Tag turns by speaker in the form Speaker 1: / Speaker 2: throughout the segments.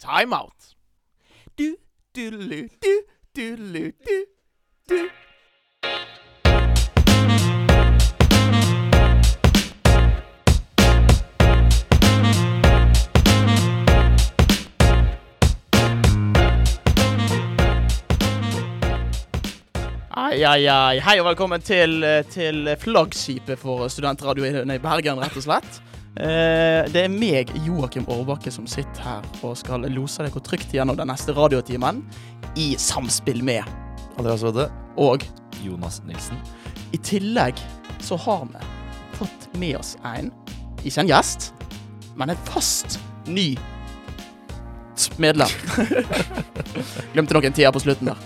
Speaker 1: Timeout. Du, du, lu, du, du, lu, du, du. Ai, ai, ai. Hei og velkommen til, eh, til flaggskipet for studentradioen i Bergen, rett og slett. Eh, Det er meg, Joakim Aarbakke, som sitter her og skal lose deg hvor trygt gjennom den neste radiotimen i samspill med.
Speaker 2: Andreas Vedde.
Speaker 1: Og
Speaker 2: Jonas Nilsen.
Speaker 1: i tillegg så har vi fått med oss en, ikke en gjest, men en fast ny t- medlem. Glemte nok en tier på slutten der.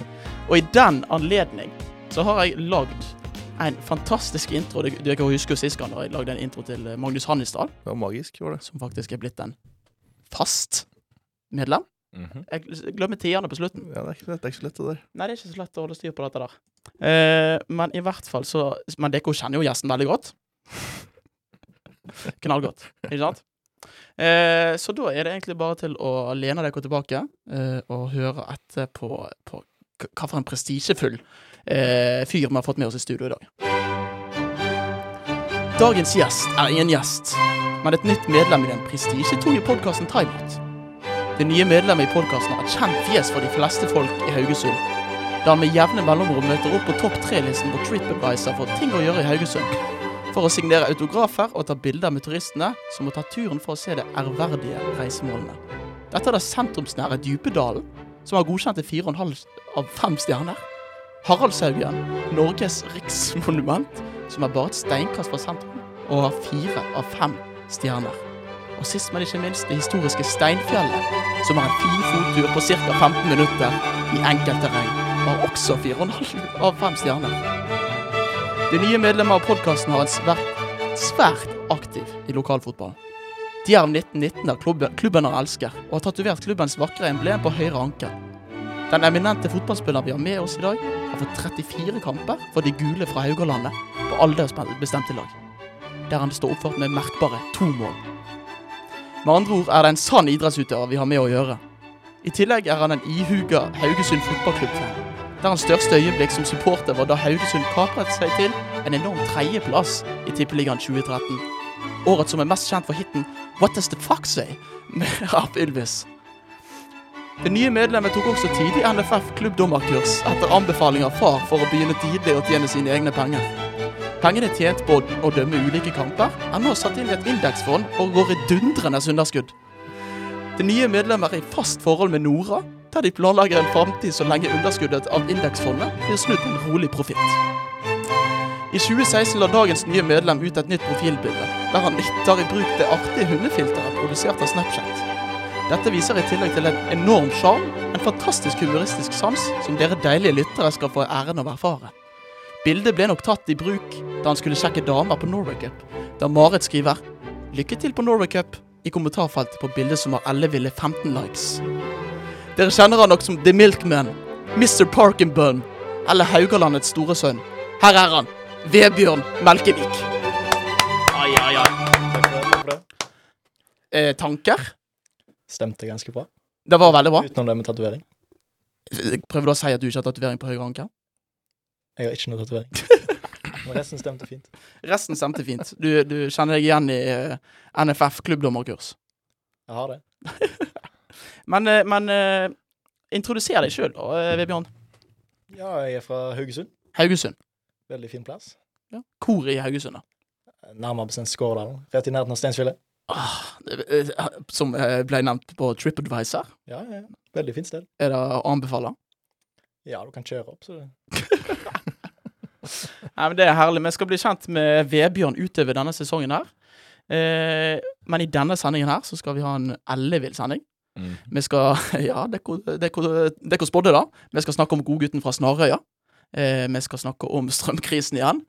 Speaker 1: Og i den anledning så har jeg lagd en fantastisk intro. Dere dere husker jo sist gang da jeg lagde en intro til eh, Magnus Hannestad,
Speaker 2: Det var magisk, var det.
Speaker 1: som faktisk er blitt en fast medlem. Jeg glemmer tierne på slutten.
Speaker 2: Ja, det er ikke lett, det er ikke så lett det der.
Speaker 1: Nei, det er ikke så lett å holde styr på dette der. Eh, men i hvert fall så Men dere kjenner jo gjesten veldig godt. Knallgodt, ikke sant? Eh, så da er det egentlig bare til å lene dere tilbake eh, og høre etter på, på k- hva for en prestisjefull eh, fyr vi har fått med oss i studio i dag. Dagens gjest er ingen gjest, men et nytt medlem i den prestisjetunge podkasten Timeout. Det nye medlemmet i podkasten har et kjent fjes for de fleste folk i Haugesund da han med jevne mellomrom møter opp på topp tre-listen på TripAdvisor for ting å gjøre i Haugesund. For å signere autografer og ta bilder med turistene som må ta turen for å se det ærverdige reisemålene. Dette er det sentrumsnære Djupedalen, som har godkjent til 4,5 av 5 stjerner. Haraldshaugen, Norges riksmonument, som er bare et steinkast fra sentrum, og har 4 av 5 stjerner. Og sist, men ikke minst, det historiske Steinfjellet, som er en fin fottur på ca. 15 minutter i enkeltterreng, og har også 4,5 av 5 stjerner. De nye medlemmer av podkasten har vært svært, svært aktiv i lokalfotballen. De er av 1919 er klubben, klubben han elsker, og har tatovert klubbens vakre emblem på høyre ankel. Den eminente fotballspilleren vi har med oss i dag, har fått 34 kamper for de gule fra Haugalandet på aldersbestemte lag, der han står oppført med merkbare to mål. Med andre ord er det en sann idrettsutøver vi har med å gjøre. I tillegg er han en ihuga Haugesund fotballklubb-fan. Der hans største øyeblikk som supporter var da Haugesund kapret seg til en enorm tredjeplass i Tippeligaen 2013. Året som er mest kjent for hiten What Does The Fuck Say? med av Ylvis. Det nye medlemmet tok også tidlig NFF klubbdommerkurs etter anbefaling av far for å begynne tidlig å tjene sine egne penger. Pengene tjent på å dømme ulike kamper er nå satt inn i et indeksfond og går i dundrende underskudd. Det nye medlemmer er i fast forhold med Nora, der de planlegger en framtid så lenge underskuddet av indeksfondet blir snudd til en rolig profitt. I 2016 la dagens nye medlem ut et nytt profilbilde, der han tar i bruk det artige hundefilteret produsert av Snapchat. Dette viser i tillegg til en enorm sjarm, en fantastisk humoristisk sans som dere deilige lyttere skal få æren av å erfare. Bildet ble nok tatt i bruk da han skulle sjekke damer på Norway Cup, da Marit skriver 'Lykke til på Norway Cup' i kommentarfeltet på bildet som har elleville 15 likes. Dere kjenner han nok som The Milkman, Mr. Parkenbun eller Haugalandets store sønn. Her er han, Vebjørn Melkevik. Ai, ai, ai. Eh, tanker?
Speaker 3: Stemte ganske bra.
Speaker 1: Det var veldig bra.
Speaker 3: Utenom det med tatovering.
Speaker 1: Prøver du å si at du ikke har tatovering på høyre ankel?
Speaker 3: Jeg har ikke noe tatovering. Men resten stemte fint.
Speaker 1: Resten stemte fint. Du, du kjenner deg igjen i eh, NFF klubbdommerkurs.
Speaker 3: Jeg har det.
Speaker 1: Men, eh, men eh, introduser deg sjøl, Vebjørn.
Speaker 3: Ja, jeg er fra Haugesund.
Speaker 1: Haugesund.
Speaker 3: Veldig fin plass.
Speaker 1: Hvor i Haugesund, da?
Speaker 3: Nærmere bestemt Skårdalen. Rett i nærheten av Steinsfjellet.
Speaker 1: Eh, eh, Som eh, ble nevnt på TripAdvisor.
Speaker 3: Ja, ja. ja. Veldig fint sted.
Speaker 1: Er det å anbefale?
Speaker 3: Ja, du kan kjøre opp, så det
Speaker 1: Nei, men Det er herlig. Vi skal bli kjent med Vebjørn utover denne sesongen her. Eh, men i denne sendingen her så skal vi ha en ellevill sending. Vi skal Ja, dere spådde det. Vi skal snakke om godgutten fra Snarøya. Eh, vi skal snakke om strømkrisen igjen.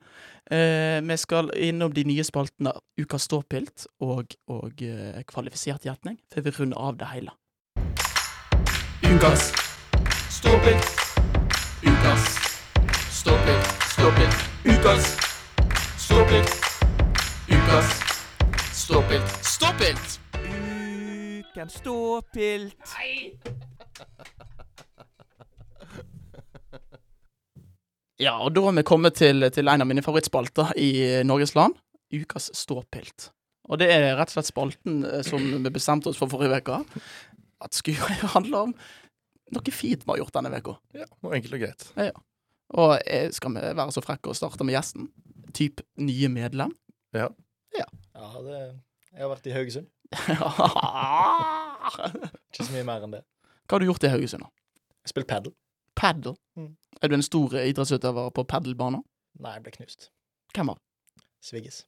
Speaker 1: Eh, vi skal innom de nye spaltene Ukas ståpilt og, og eh, kvalifisert gjetning, før vi runder av det hele. Ukas ståpilt. Ukas ståpilt, ståpilt. Ukas ståpilt. Ukas ståpilt, ståpilt.
Speaker 4: fikk en ståpilt.
Speaker 1: Ja, og da har vi kommet til, til en av mine favorittspalter i Norges land. Ukas ståpilt. Og det er rett og slett spalten eh, som vi bestemte oss for forrige uke. At skulle handle om noe fint vi har gjort denne uka.
Speaker 2: Ja, Noe enkelt og greit.
Speaker 1: Og eh, skal vi være så frekke å starte med gjesten? Typ nye medlem?
Speaker 3: Ja, det, jeg har vært i Haugesund.
Speaker 1: Hva
Speaker 3: Ikke så mye mer enn det.
Speaker 1: har du gjort i Haugesund? da?
Speaker 3: Jeg spilte padel.
Speaker 1: Padel?
Speaker 3: Mm.
Speaker 1: Er du en stor idrettsutøver på padelbanen?
Speaker 3: Nei, jeg ble knust.
Speaker 1: Hvem av?
Speaker 3: Sviggis.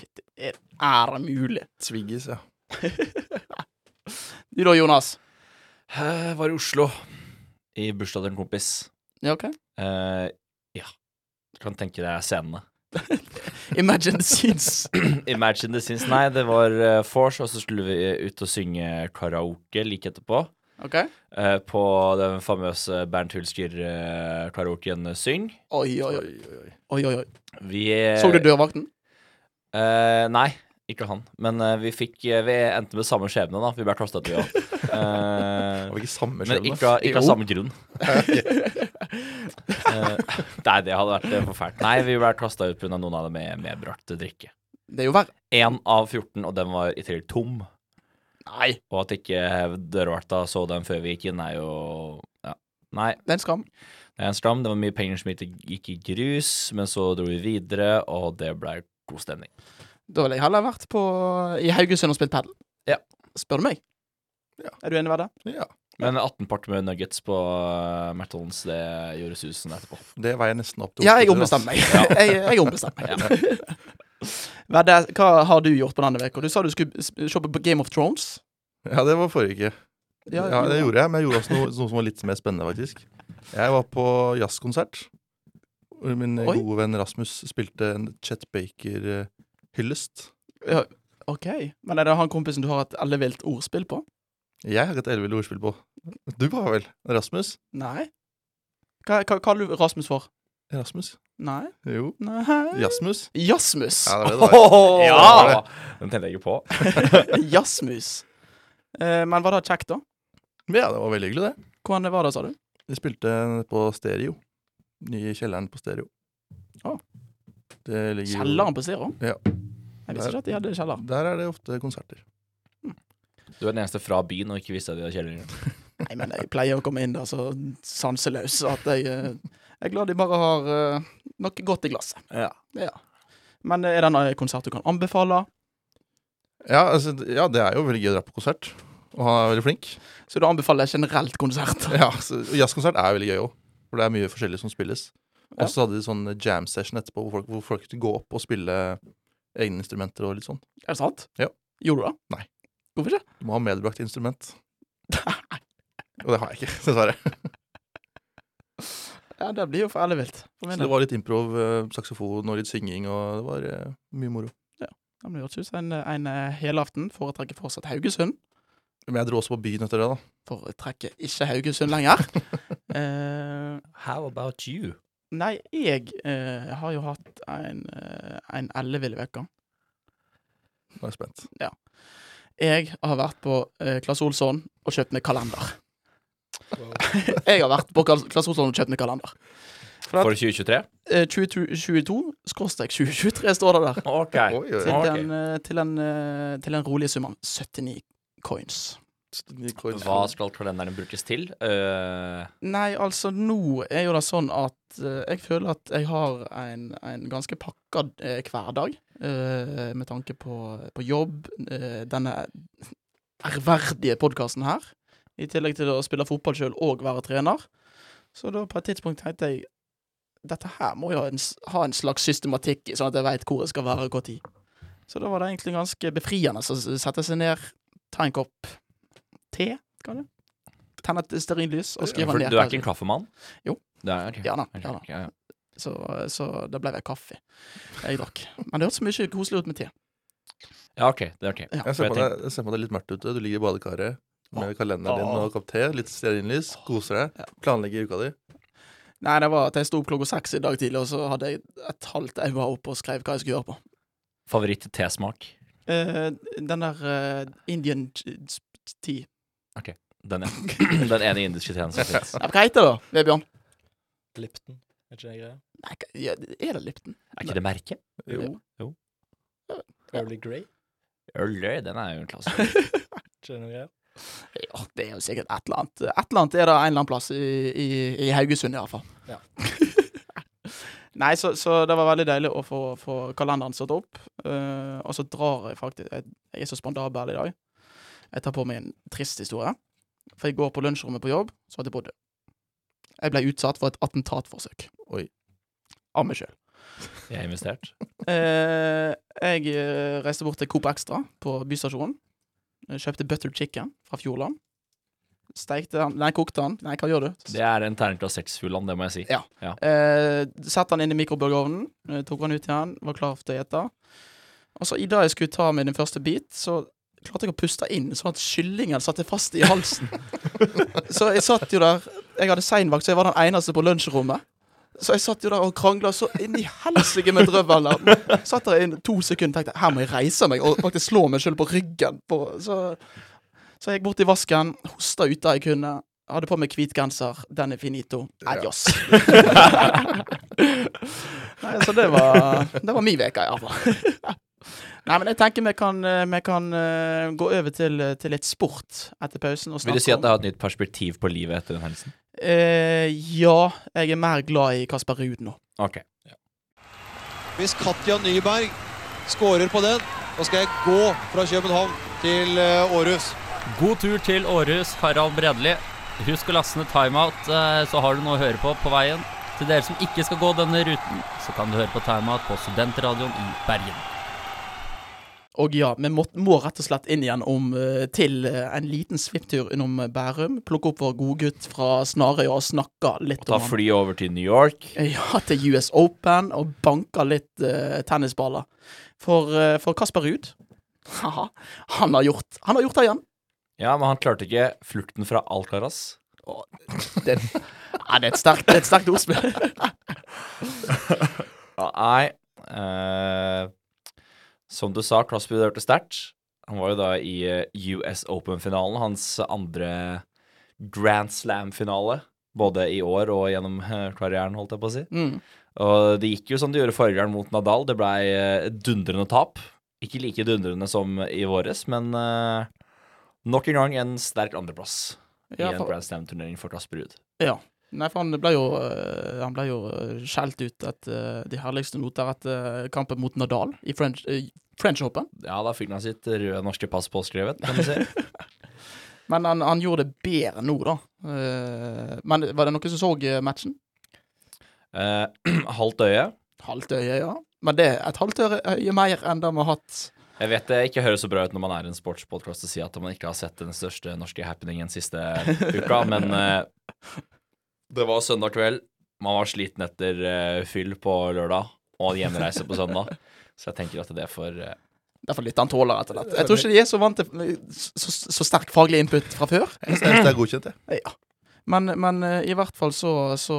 Speaker 1: Fytti, er er det mulig?
Speaker 2: Sviggis, ja.
Speaker 1: Du da, Jonas?
Speaker 4: Jeg var i Oslo i bursdag til en kompis.
Speaker 1: Ja, OK?
Speaker 4: Eh, ja. Du kan tenke deg scenene.
Speaker 1: Imagine the scenes.
Speaker 4: Imagine the Sins. Nei, det var uh, vors, og så skulle vi eh, ut og synge karaoke like etterpå.
Speaker 1: OK?
Speaker 4: eh, på den famøse Bernt Hulsker-karaoken Syng.
Speaker 1: Oi, oi, oi.
Speaker 2: oi, oi.
Speaker 1: oi, oi, oi.
Speaker 4: Vi
Speaker 1: Så du dørvakten?
Speaker 4: Eh, nei, ikke han. Men eh, vi fikk eh, Vi endte med samme skjebne, da. Vi ble kasta til, vi òg.
Speaker 2: Har vi ikke samme
Speaker 4: men
Speaker 2: skjebne?
Speaker 4: ikke, av- ikke av
Speaker 1: Jo.
Speaker 4: samme grunn. Eh, nei, det hadde vært eh, for fælt. Nei, vi ble kasta ut pga. noen av dem med medbrakt drikke.
Speaker 1: Det er jo verre.
Speaker 4: Én av 14, og den var i tillegg tom.
Speaker 1: Nei,
Speaker 4: Og at ikke dørvakta så den før vi gikk inn, er jo ja. Nei,
Speaker 1: det er en skam.
Speaker 4: det er en skam. Det var mye penger som ikke gikk i grus, men så dro vi videre, og det ble god stemning.
Speaker 1: Da ville jeg heller vært på, i Haugesund og spilt padel.
Speaker 4: Ja.
Speaker 1: Spør du meg.
Speaker 2: Ja.
Speaker 1: Er du enig med det?
Speaker 2: Ja,
Speaker 4: Men 18 part med nuggets på eh, McDonald's, det gjorde susen etterpå.
Speaker 2: Det veier nesten opp til
Speaker 1: Ja, jeg
Speaker 2: Oslo, altså. ass.
Speaker 1: ombestemmer meg. jeg, jeg ombestemmer meg. Vedde, hva har du gjort på denne uka? Du sa du skulle s- se på Game of Thrones.
Speaker 2: Ja, det var forrige uke. Ja,
Speaker 1: Ja,
Speaker 2: det gjorde jeg, men jeg gjorde også noe, noe som var litt mer spennende, faktisk. Jeg var på jazzkonsert. hvor Min
Speaker 1: Oi.
Speaker 2: gode venn Rasmus spilte en eh, Chet Baker-hyllest.
Speaker 1: OK. Men er det han kompisen du har et ellevilt ordspill på?
Speaker 2: Jeg har et ellevilt ordspill på. Du har vel Rasmus?
Speaker 1: Nei. Hva hva kaller du Rasmus for?
Speaker 2: Rasmus?
Speaker 1: Nei.
Speaker 2: Jo.
Speaker 1: Nei.
Speaker 2: Jasmus?
Speaker 1: Jasmus.
Speaker 2: Ja, det var det.
Speaker 4: Ja! Den tenkte jeg ikke på.
Speaker 1: Jasmus. Eh, men var det kjekt, da?
Speaker 2: Ja, det var veldig hyggelig, det.
Speaker 1: Hvordan var det, sa du?
Speaker 2: Vi spilte på stereo. Nye kjelleren på stereo.
Speaker 1: Å.
Speaker 2: Det ligger jo-
Speaker 1: Kjelleren på Zero?
Speaker 2: Ja.
Speaker 1: Jeg visste ikke at de hadde kjeller.
Speaker 2: Der er det ofte konserter.
Speaker 4: Du er den eneste fra byen og ikke visste at de hadde kjelleren.
Speaker 1: Nei, men jeg pleier å komme inn der så sanseløs at jeg eh, jeg er glad de bare har eh, noe godt i glasset.
Speaker 4: Ja.
Speaker 1: Men eh, er det en konsert du kan anbefale?
Speaker 2: Ja, altså, ja, det er jo veldig gøy å dra på konsert. Og han er veldig flink.
Speaker 1: Så du anbefaler generelt konsert?
Speaker 2: Ja, så- og Jazzkonsert er veldig gøy òg, for det er mye forskjellig som spilles.
Speaker 1: Ja.
Speaker 2: Og så hadde de sånn jam session etterpå, hvor folk, hvor folk skulle gå opp og spille egne instrumenter og litt sånn.
Speaker 1: Er det sant?
Speaker 2: Ja.
Speaker 1: Gjorde du det?
Speaker 2: Nei.
Speaker 1: Hvorfor ikke?
Speaker 2: Du må ha medbrakt instrument. Og det har jeg ikke, dessverre.
Speaker 1: Ja, Det blir jo for ellevilt. For
Speaker 2: Så
Speaker 1: min
Speaker 2: det
Speaker 1: del.
Speaker 2: var litt improv, eh, saksofon og litt synging, og det var eh, mye moro.
Speaker 1: Ja, men Det hørtes ut som en, en eh, helaften. Foretrekker fortsatt Haugesund.
Speaker 2: Men jeg dro også på byen etter det, da.
Speaker 1: Foretrekker ikke Haugesund lenger. eh,
Speaker 4: How about you?
Speaker 1: nei, jeg eh, har jo hatt en, eh, en ellevill uke.
Speaker 2: Nå er jeg spent.
Speaker 1: Jeg har vært på eh, Klass Olsson og kjøpt meg kalender.
Speaker 3: Wow.
Speaker 1: Jeg har vært på Klass Klass Olsson og kjøpt meg kalender.
Speaker 4: For 2023?
Speaker 1: Eh, 2022-2023 står det der.
Speaker 4: Ok.
Speaker 2: Oi,
Speaker 1: Til,
Speaker 2: oi, oi.
Speaker 4: Ok.
Speaker 1: den, eh, til, en, eh, til en rolig sum av 79 coins.
Speaker 2: Nye chords.
Speaker 4: Hva skal kalenderen brukes til? Eh,
Speaker 1: Nei, altså, nå er jo det sånn at eh, jeg føler at jeg har en, en ganske pakka eh, hverdag. eh, med tanke på, på jobb, eh, denne ærverdige podkasten her. I tillegg til å spille fotball sjøl og være trener. Så da på et tidspunkt tenkte jeg dette her må jo ha en, s- ha en slags systematikk, i, sånn at jeg veit hvor jeg skal være og når. Så da var det egentlig ganske befriende å s- sette seg ned, ta en kopp te, kan du, tenne et stearinlys og skrive
Speaker 4: for
Speaker 1: ned.
Speaker 4: du er ikke en kaffemann?
Speaker 1: Jo.
Speaker 4: Det er, ok.
Speaker 1: Ja da,
Speaker 4: Ok,
Speaker 1: ja da.
Speaker 4: ok, ja.
Speaker 1: Så, så det ble vel kaffe jeg drakk. Men det hørtes mye koselig ut med te.
Speaker 4: Ja, ok. Det er ok.
Speaker 2: Jeg ser
Speaker 4: For jeg
Speaker 2: på deg- jeg ser på deg litt mørkt ute. Du ligger i badekaret med kalenderen din og kopp te, litt stearinlys, koser deg, planlegger uka di.
Speaker 1: Nei, det var at jeg sto opp klokka seks i dag tidlig, og så hadde jeg et halvt øye opp og skrev hva jeg skulle gjøre på.
Speaker 4: Favoritt-tesmak?
Speaker 1: Eh, den der eh, Indian ch- ti.
Speaker 4: Den, ja. Den ene indiske teen som fins.
Speaker 1: Nei, Hva heter det, da, Vebjørn?
Speaker 3: Lipton. Er ikke det greia?
Speaker 1: Nei, hva- ja, er det Lipton?
Speaker 4: Er ikke det merket?
Speaker 2: Jo.
Speaker 3: Early Grey?
Speaker 4: Øl, den er jo en klassiker.
Speaker 3: Ikke det noe greier?
Speaker 1: Ja, det er jo sikkert et eller annet. Et eller annet er det en eller annen plass i, i, i Haugesund, i hvert fall.
Speaker 3: Ja.
Speaker 1: Nei, så, så det var veldig deilig å få, få kalenderen satt opp. Eh, og så drar jeg faktisk jeg, jeg er så spandabel i dag. Jeg tar på meg en trist historie. For i går på lunsjrommet på jobb, så hadde jeg bodd Jeg ble utsatt for et attentatforsøk.
Speaker 2: Oi.
Speaker 1: Av meg sjøl.
Speaker 4: Jeg har investert.
Speaker 1: Eh, jeg eh, reiste bort til Coop Extra på bystasjonen. Jeg Kjøpte butter chicken fra Fjordland. Steikte den Nei, kokte den. Nei, hva gjør du?
Speaker 4: Det er en terningklasse seks-Fjordland, det må jeg si.
Speaker 1: Eh, Sette den inn i mikrobølgeovnen. eh, Tok den ut igjen. Var klar til å ete. Og så Altså, i dag jeg skulle ta min første bit, så klarte jeg å puste inn sånn at kyllingen satte fast i halsen. så jeg satt jo der. Jeg hadde seinvakt, så jeg var den eneste på lunsjrommet. Så jeg satt jo der og krangla så inn i helsike med drøvelen. Satt der i to sekunder og tenkte her må jeg reise meg og faktisk slå meg sjøl på ryggen. På, så, så jeg gikk bort i vasken, hosta ut der jeg kunne. Hadde på meg hvit genser. Den er finito. Adios. Nei, så det var, det var min uke, iallfall. Nei, men jeg tenker vi kan, eh, vi kan eh, gå over til, eh, til litt sport etter pausen. Og
Speaker 4: Vil du
Speaker 1: snakke
Speaker 4: si at
Speaker 1: om-
Speaker 4: jeg har et nytt perspektiv på livet etter den hendelsen?
Speaker 1: Eh, ja, jeg er mer glad i Kasper Ruud nå.
Speaker 4: Ok.
Speaker 5: Hvis Katja Nyberg skårer på den, da skal jeg gå fra København til eh, Århus.
Speaker 6: God tur til Århus, Harald Bredli. Husk å laste ned timeout, eh, så har du noe å høre på på veien. Til dere som ikke skal gå denne ruten, så kan du høre på timeout på Studentradioen i Bergen.
Speaker 1: Og ja, vi må, må rett og slett inn igjen om eh, til eh, en liten svipptur innom Bærum. Plukke opp vår godgutt fra Snarøya og snakke litt
Speaker 4: Og ta
Speaker 1: om han.
Speaker 4: flyet over til New York.
Speaker 1: Ja, til US Open og banke litt eh, tennisballer. For, eh, for Kasper Ruud Haha, han har gjort Han har gjort det igjen.
Speaker 4: Ja, men han klarte ikke flukten fra Alcaraz.
Speaker 1: Ja, det er et sterkt, det er et sterkt ordspill.
Speaker 4: Ja, Nei eh, Som du sa, Crosby hørte sterkt. Han var jo da i eh, US Open-finalen, hans andre Grand Slam-finale. Både i år og gjennom eh, karrieren, holdt jeg på å si.
Speaker 1: Mm.
Speaker 4: Og det gikk jo som det gjorde forrige gang mot Nadal. Det blei eh, dundrende tap. Ikke like dundrende som i våres, men eh, nok en gang en sterk andreplass
Speaker 1: Ja,
Speaker 4: i en
Speaker 1: for-
Speaker 4: Grand Slam-turnering for Kasper Ruud.
Speaker 1: Nei, for han ble jo, eh, han ble jo eh, skjelt ut etter de herligste noter etter kampen mot Nadal i French, eh, French Open.
Speaker 4: Ja, da fikk han sitt røde norske pass påskrevet, kan du si.
Speaker 1: Men han, han gjorde det bedre nå, da. Eh, men var det noen som så eh, matchen?
Speaker 4: Eh, halvt øye.
Speaker 1: Halvt øye, ja. Men det er et halvt øre- øye mer enn det vi har hatt.
Speaker 4: Jeg vet det ikke høres så bra ut når man er en sportspodkast og sier at man ikke har sett den største norske happeningen siste uka, men eh, det var søndag kveld. Man var sliten etter eh, fyll på lørdag og hjemreise på søndag, så jeg tenker at det får eh,
Speaker 1: Derfor litt han tåler etter dette. Jeg tror ikke de er så vant til eh, så, så- så sterk faglig input fra før.
Speaker 2: Jeg
Speaker 4: Eh,
Speaker 2: synes det er godkjent, jeg.
Speaker 1: Ja. Men, men eh, i hvert fall så, så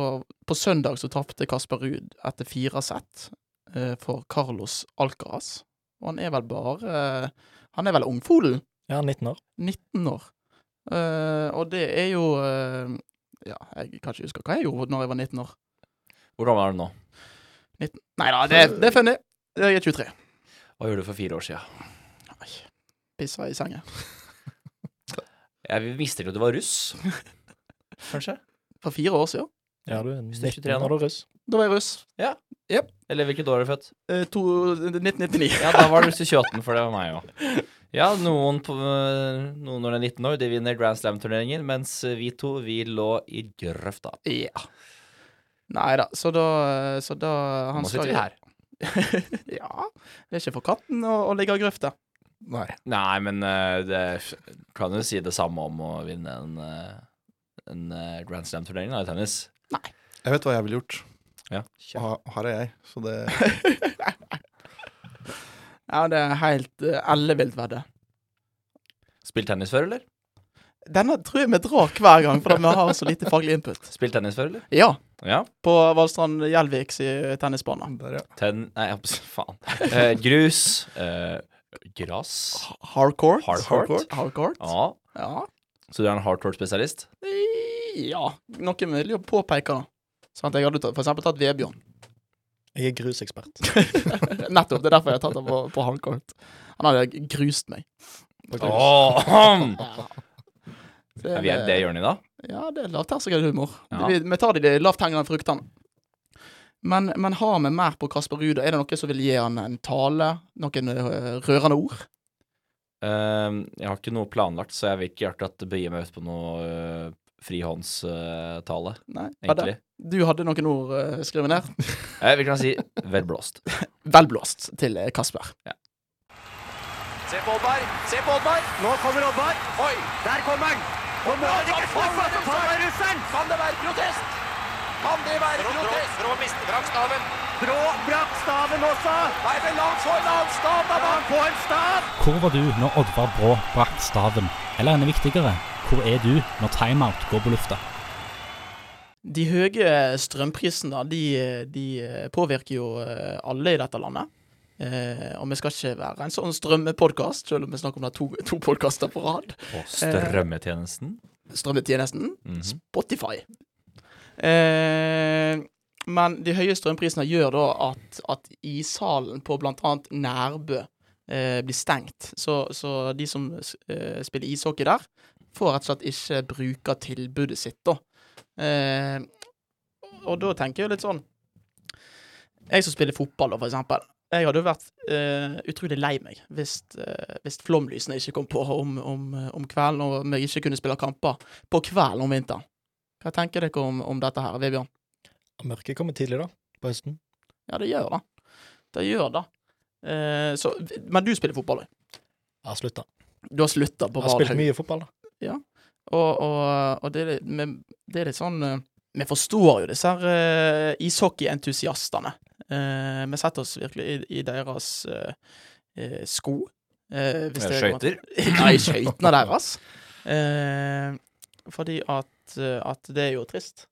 Speaker 1: På søndag så tapte Kasper Ruud etter fire sett eh, for Carlos Alcaraz. Og han er vel bare eh, Han er vel ungfolen?
Speaker 3: Ja, 19 år.
Speaker 1: 19 år. Eh, og det er jo eh, Ja, jeg kan ikke huske hva jeg gjorde når jeg var 19 år.
Speaker 4: Hvor gammel er du nå?
Speaker 1: Nei da, det, det er funny. Jeg er 23.
Speaker 4: Hva gjorde du for fire år siden?
Speaker 1: Oi. Pissa i senga.
Speaker 4: Jeg mistenker at du var russ, kanskje?
Speaker 1: For fire år siden.
Speaker 3: Ja, du er
Speaker 4: Hvis du er
Speaker 3: 19
Speaker 4: 23 nå.
Speaker 3: når du er russ.
Speaker 1: Da var jeg russ.
Speaker 4: Eller hvilket år er du født?
Speaker 1: Eh, to, 1999.
Speaker 4: Ja, da var det russ i 28, for det var meg òg. Ja, noen, på, eh, noen når det er 19 år, de vinner Grand Slam-turneringer, mens eh, vi to, vi lå i grøfta.
Speaker 1: Ja. Nei da, så da, så da han
Speaker 4: Nå
Speaker 1: skal-
Speaker 4: sitter vi her.
Speaker 1: ja. Det er ikke for katten å, å ligge i grøfta.
Speaker 2: Nei.
Speaker 4: Nei, men eh, det kan jo si det samme om å vinne en, eh, en eh, Grand Slam-turnering da, i tennis.
Speaker 2: Jeg vet hva jeg ville gjort.
Speaker 4: Ja.
Speaker 2: Og ha- her er jeg, så det
Speaker 1: Ja, det er helt eh, ellevilt vedde.
Speaker 4: Spilt tennis før, eller?
Speaker 1: Denne tror jeg vi drar hver gang, fordi vi har så lite faglig input.
Speaker 4: Spilt tennis før, eller?
Speaker 1: Ja,
Speaker 4: Ja.
Speaker 1: på Valstrand Gjelviks i tennisbane.
Speaker 2: Der, ja.
Speaker 4: Ten... Nei, jeg- faen. Eh, grus. eh, gras.
Speaker 1: Hardcourt.
Speaker 4: Hardcourt.
Speaker 1: Hardcourt.
Speaker 4: Ja.
Speaker 1: Ja.
Speaker 4: Så du er en hardcore-spesialist?
Speaker 1: ja. Noen vil jo påpeke det. Sånn at jeg hadde tatt, for eksempel tatt Vebjørn.
Speaker 3: Jeg er grusekspert.
Speaker 1: Nettopp. Det er derfor jeg har tatt ham på, på hardcourt. Han hadde grust meg. Ja. Så
Speaker 4: Er vi er det hjørnet i dag?
Speaker 1: Ja, det er lavterskelhumor.
Speaker 4: Ja.
Speaker 1: Vi, vi tar de, de lavthengende fruktene. Men, men har vi mer på Kasper Ruud? Er det noe som vil gi han en tale? Noen eh, rørende ord?
Speaker 4: Ehm, jeg har ikke noe planlagt, så jeg vil ikke akkurat begi meg ut på noe eh, frihåndstale,
Speaker 1: Nei.
Speaker 4: egentlig.
Speaker 1: Du hadde noen ord eh, skrevet ned?
Speaker 4: Eh, vi kan si vedblåst.
Speaker 1: Velblåst til eh, Kasper.
Speaker 7: Se på Oddvar, se på Oddvar. Nå kommer Oddvar. Oi, der kommer han. Og nå er det ikke folk som tar av russeren. Kan det være protest? Kan det være protest? Brå mister brakk staven. Brå brakk staven også. Nei, men la han få en annen stav, da. La han få en stav.
Speaker 8: Hvor var du når Oddvar Brå brakk staven? Eller enda viktigere, hvor er du når timeout går på lufta?
Speaker 1: De høye strømprisene de, de påvirker jo eh, alle i dette landet. Eh, og vi skal ikke være en sånn strømmepodkast, selv om vi snakker om det er to, to podkaster på rad.
Speaker 4: Og strømmetjenesten.
Speaker 1: Strømmetjenesten
Speaker 4: Mhm.
Speaker 1: Spotify. Eh, men de høye strømprisene gjør da at, at ishallen på bl.a. Nærbø eh, blir stengt. Så, så de som eh, spiller ishockey der, får rett og slett ikke bruke tilbudet sitt, da. Eh, og da tenker jeg litt sånn Jeg som spiller fotball, da, for eksempel. Jeg hadde jo vært eh, utrolig lei meg hvis, eh, hvis flomlysene ikke kom på om, om, om kvelden, og om jeg ikke kunne spille kamper på kvelden om vinteren. Hva tenker dere om, om dette her, Vebjørn?
Speaker 3: Mørket kommer tidlig, da. På høsten.
Speaker 1: Ja, det gjør det. Det gjør det. Eh, så, men du spiller fotball, du.
Speaker 3: Jeg har slutta.
Speaker 1: Du har slutta på
Speaker 3: Jeg har spilt
Speaker 1: Valhaug.
Speaker 3: mye fotball, da.
Speaker 1: Og, og, og det, er litt- men det er litt sånn eh, Vi forstår jo disse her eh, ishockeyentusiastene. Eh, vi setter oss virkelig i, i deres eh, eh, sko. Eh, hvis
Speaker 4: Ja,
Speaker 1: det går an.
Speaker 4: skøyter.
Speaker 1: Nei, skøytene deres. Eh, fordi at, eh, at det er jo trist.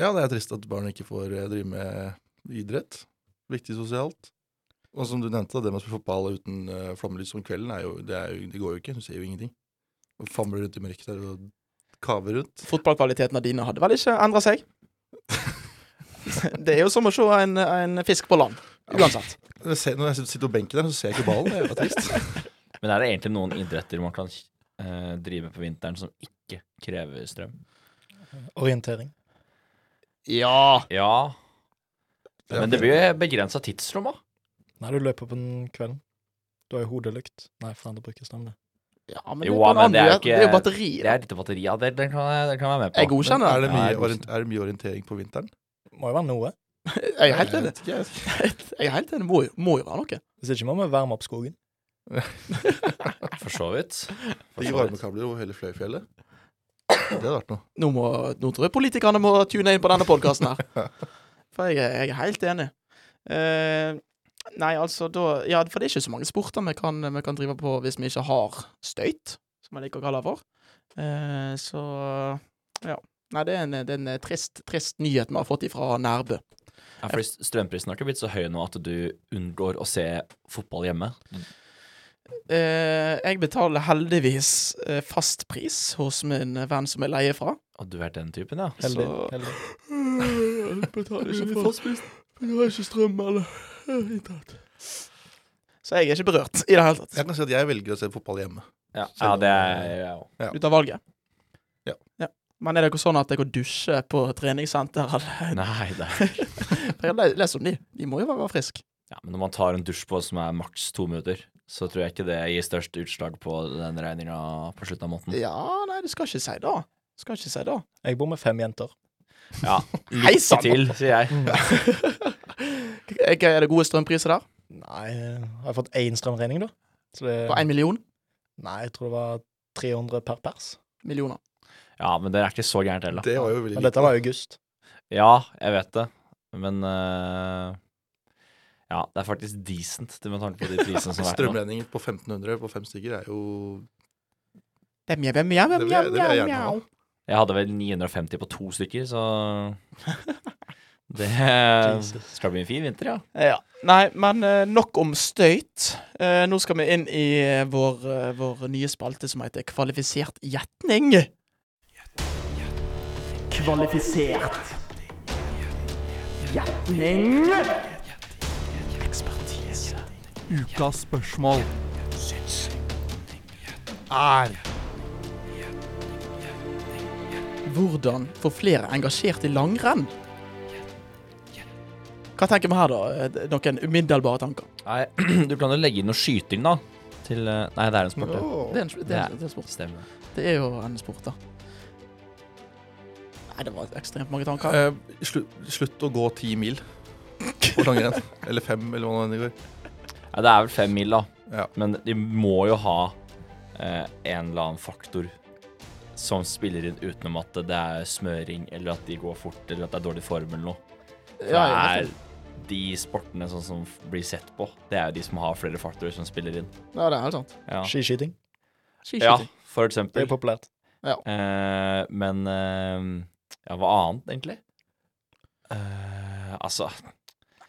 Speaker 2: Ja, det er trist at barn ikke får eh, drive med idrett. Viktig sosialt. Og som du nevnte, det med å spille fotball uten eh, flomlys om kvelden, er jo, det, er jo, det går jo ikke. Du ser jo ingenting. Og famler rundt i mørket der og kaver rundt.
Speaker 1: Fotballkvalitetene dine hadde vel ikke endra seg? Det er jo som å se en, en fisk på land, uansett.
Speaker 2: Jeg ser, når jeg sitter på benken der, så ser jeg ikke ballen. Det er jo trist.
Speaker 4: Men er det egentlig noen idretter man kan eh, drive på vinteren som ikke krever strøm?
Speaker 3: Orientering.
Speaker 1: Ja.
Speaker 4: Ja, men det blir jo begrensa tidsrom, da.
Speaker 3: Nei, du løper på den kvelden. Du har jo hodelykt. Nei, faen, det brukes stemme.
Speaker 1: ja men
Speaker 4: Jo,
Speaker 1: det er
Speaker 4: men
Speaker 1: jo,
Speaker 4: det
Speaker 1: det
Speaker 4: er
Speaker 1: er
Speaker 4: jo ikke-
Speaker 1: det er jo batteri.
Speaker 4: Det
Speaker 1: da.
Speaker 4: er lite batteri, ja. Det, den, kan jeg, den kan jeg være med på.
Speaker 1: Jeg godkjenner
Speaker 2: Er
Speaker 1: det.
Speaker 2: det, mye
Speaker 4: Nei,
Speaker 2: orient, er det mye orientering på vinteren?
Speaker 3: Det må jo være noe.
Speaker 1: Jeg er helt enig. Jeg er helt enig. Det Må, jo- må jo være noe.
Speaker 3: Hvis ikke må vi varme opp skogen.
Speaker 4: For så vidt. For
Speaker 2: Ikke
Speaker 4: så vidt.
Speaker 2: varmekabler over hele Fløyfjellet. Det hadde vært noe.
Speaker 1: Nå, må, nå tror jeg politikerne må tune inn på denne podkasten her. For jeg, er- jeg er helt enig. Eh, nei, altså da Ja, for det er ikke så mange sporter vi kan, vi kan drive på hvis vi ikke har støyt, som jeg liker å kalle det for. Eh, så ja. Nei, det er en, det er en trist, trist nyhet vi har fått ifra Nærbø.
Speaker 4: Ja, fordi strømprisen har ikke blitt så høy nå at du unngår å se fotball hjemme.
Speaker 1: Eh, jeg betaler heldigvis eh, fast pris hos min venn som jeg leier fra.
Speaker 4: Og du er den typen, ja.
Speaker 3: Heldig.
Speaker 1: Så-
Speaker 3: heldig.
Speaker 1: Jeg betaler ikke for Jeg har ikke strøm eller internett. Så jeg er ikke berørt i det hele tatt.
Speaker 2: Jeg kan si at jeg velger å se fotball hjemme.
Speaker 4: Ja, ja det er jeg òg.
Speaker 1: Du tar valget.
Speaker 2: Ja.
Speaker 1: Men er det ikke sånn at jeg går dusje på treningssenter? Eller?
Speaker 4: Nei, det er
Speaker 1: Jeg har le- lest om de. De må jo være friske.
Speaker 4: ja, Men når man tar en dusj på som er maks to minutter, så tror jeg ikke det gir størst utslag på den regninga på slutten av
Speaker 2: Mm.
Speaker 4: måneden.
Speaker 1: Ja, nei, du skal ikke si det. Du Skal ikke si det.
Speaker 3: Jeg bor med fem jenter.
Speaker 4: Ja,
Speaker 1: Hei sann!
Speaker 4: lykke til, sier jeg.
Speaker 1: Er er det gode strømpriser der?
Speaker 3: Nei, eh, har jeg fått én strømregning, da? Så det,
Speaker 1: På én million?
Speaker 3: nei, jeg tror det var 300 per pers.
Speaker 1: Millioner.
Speaker 4: Ja, men det er ikke så gærent heller.
Speaker 2: Det var jo veldig
Speaker 3: Men dette var i august.
Speaker 4: Ja, jeg vet det, men eh, Ja, det er faktisk decent det med tanke på de prisene som er nå.
Speaker 2: Strømregninger på 1500 på fem stykker er jo
Speaker 1: Det er mjau, mjau, mjau,
Speaker 2: Det
Speaker 1: mjau,
Speaker 2: vil jeg- det vil jeg
Speaker 1: mjau,
Speaker 2: gjerne ha.
Speaker 1: mjau.
Speaker 4: Jeg hadde vel 950 på to stykker, så Det skal bli en fin vinter, ja.
Speaker 1: Ja. Nei, men eh, nok om støyt. Eh, nå skal vi inn i eh, vår, eh, vår nye spalte som heter Kvalifisert gjetning. Kvalifisert gjetning. Ekspertise. Ukas spørsmål. Er Hvordan få flere engasjert i langrenn? Hva tenker vi her, da? Eh, Noen umiddelbare tanker?
Speaker 4: Nei, du kan jo legge inn noe skyting, da. Til eh, Nei, det er en sport, det.
Speaker 1: Det er en, det er, det er sport.
Speaker 4: Stemmer.
Speaker 1: Det er jo en sport, da. Nei, det var ekstremt mange tanker.
Speaker 2: Eh, slu, slutt å gå ti mil på langrenn. eller fem, eller hva det nå enn det går.
Speaker 4: Nei, det er vel fem mil, da.
Speaker 2: Ja.
Speaker 4: Men de må jo ha eh, en eller annen faktor som spiller inn utenom at det er smøring, eller at de går fort, eller at det er dårlig form, eller noe.
Speaker 1: Ja,
Speaker 4: For det
Speaker 1: i hvert
Speaker 4: er de sportene sånn som f- blir sett på. Det er jo de som har flere faktorer som spiller inn.
Speaker 1: Ja, det er helt sant.
Speaker 4: Ja,
Speaker 3: Skiskyting.
Speaker 4: ja
Speaker 1: Skiskyting.
Speaker 3: Det
Speaker 4: for
Speaker 3: er
Speaker 4: eksempel.
Speaker 3: jo populært.
Speaker 4: Eh, men eh, ja, hva annet, egentlig? Eh, altså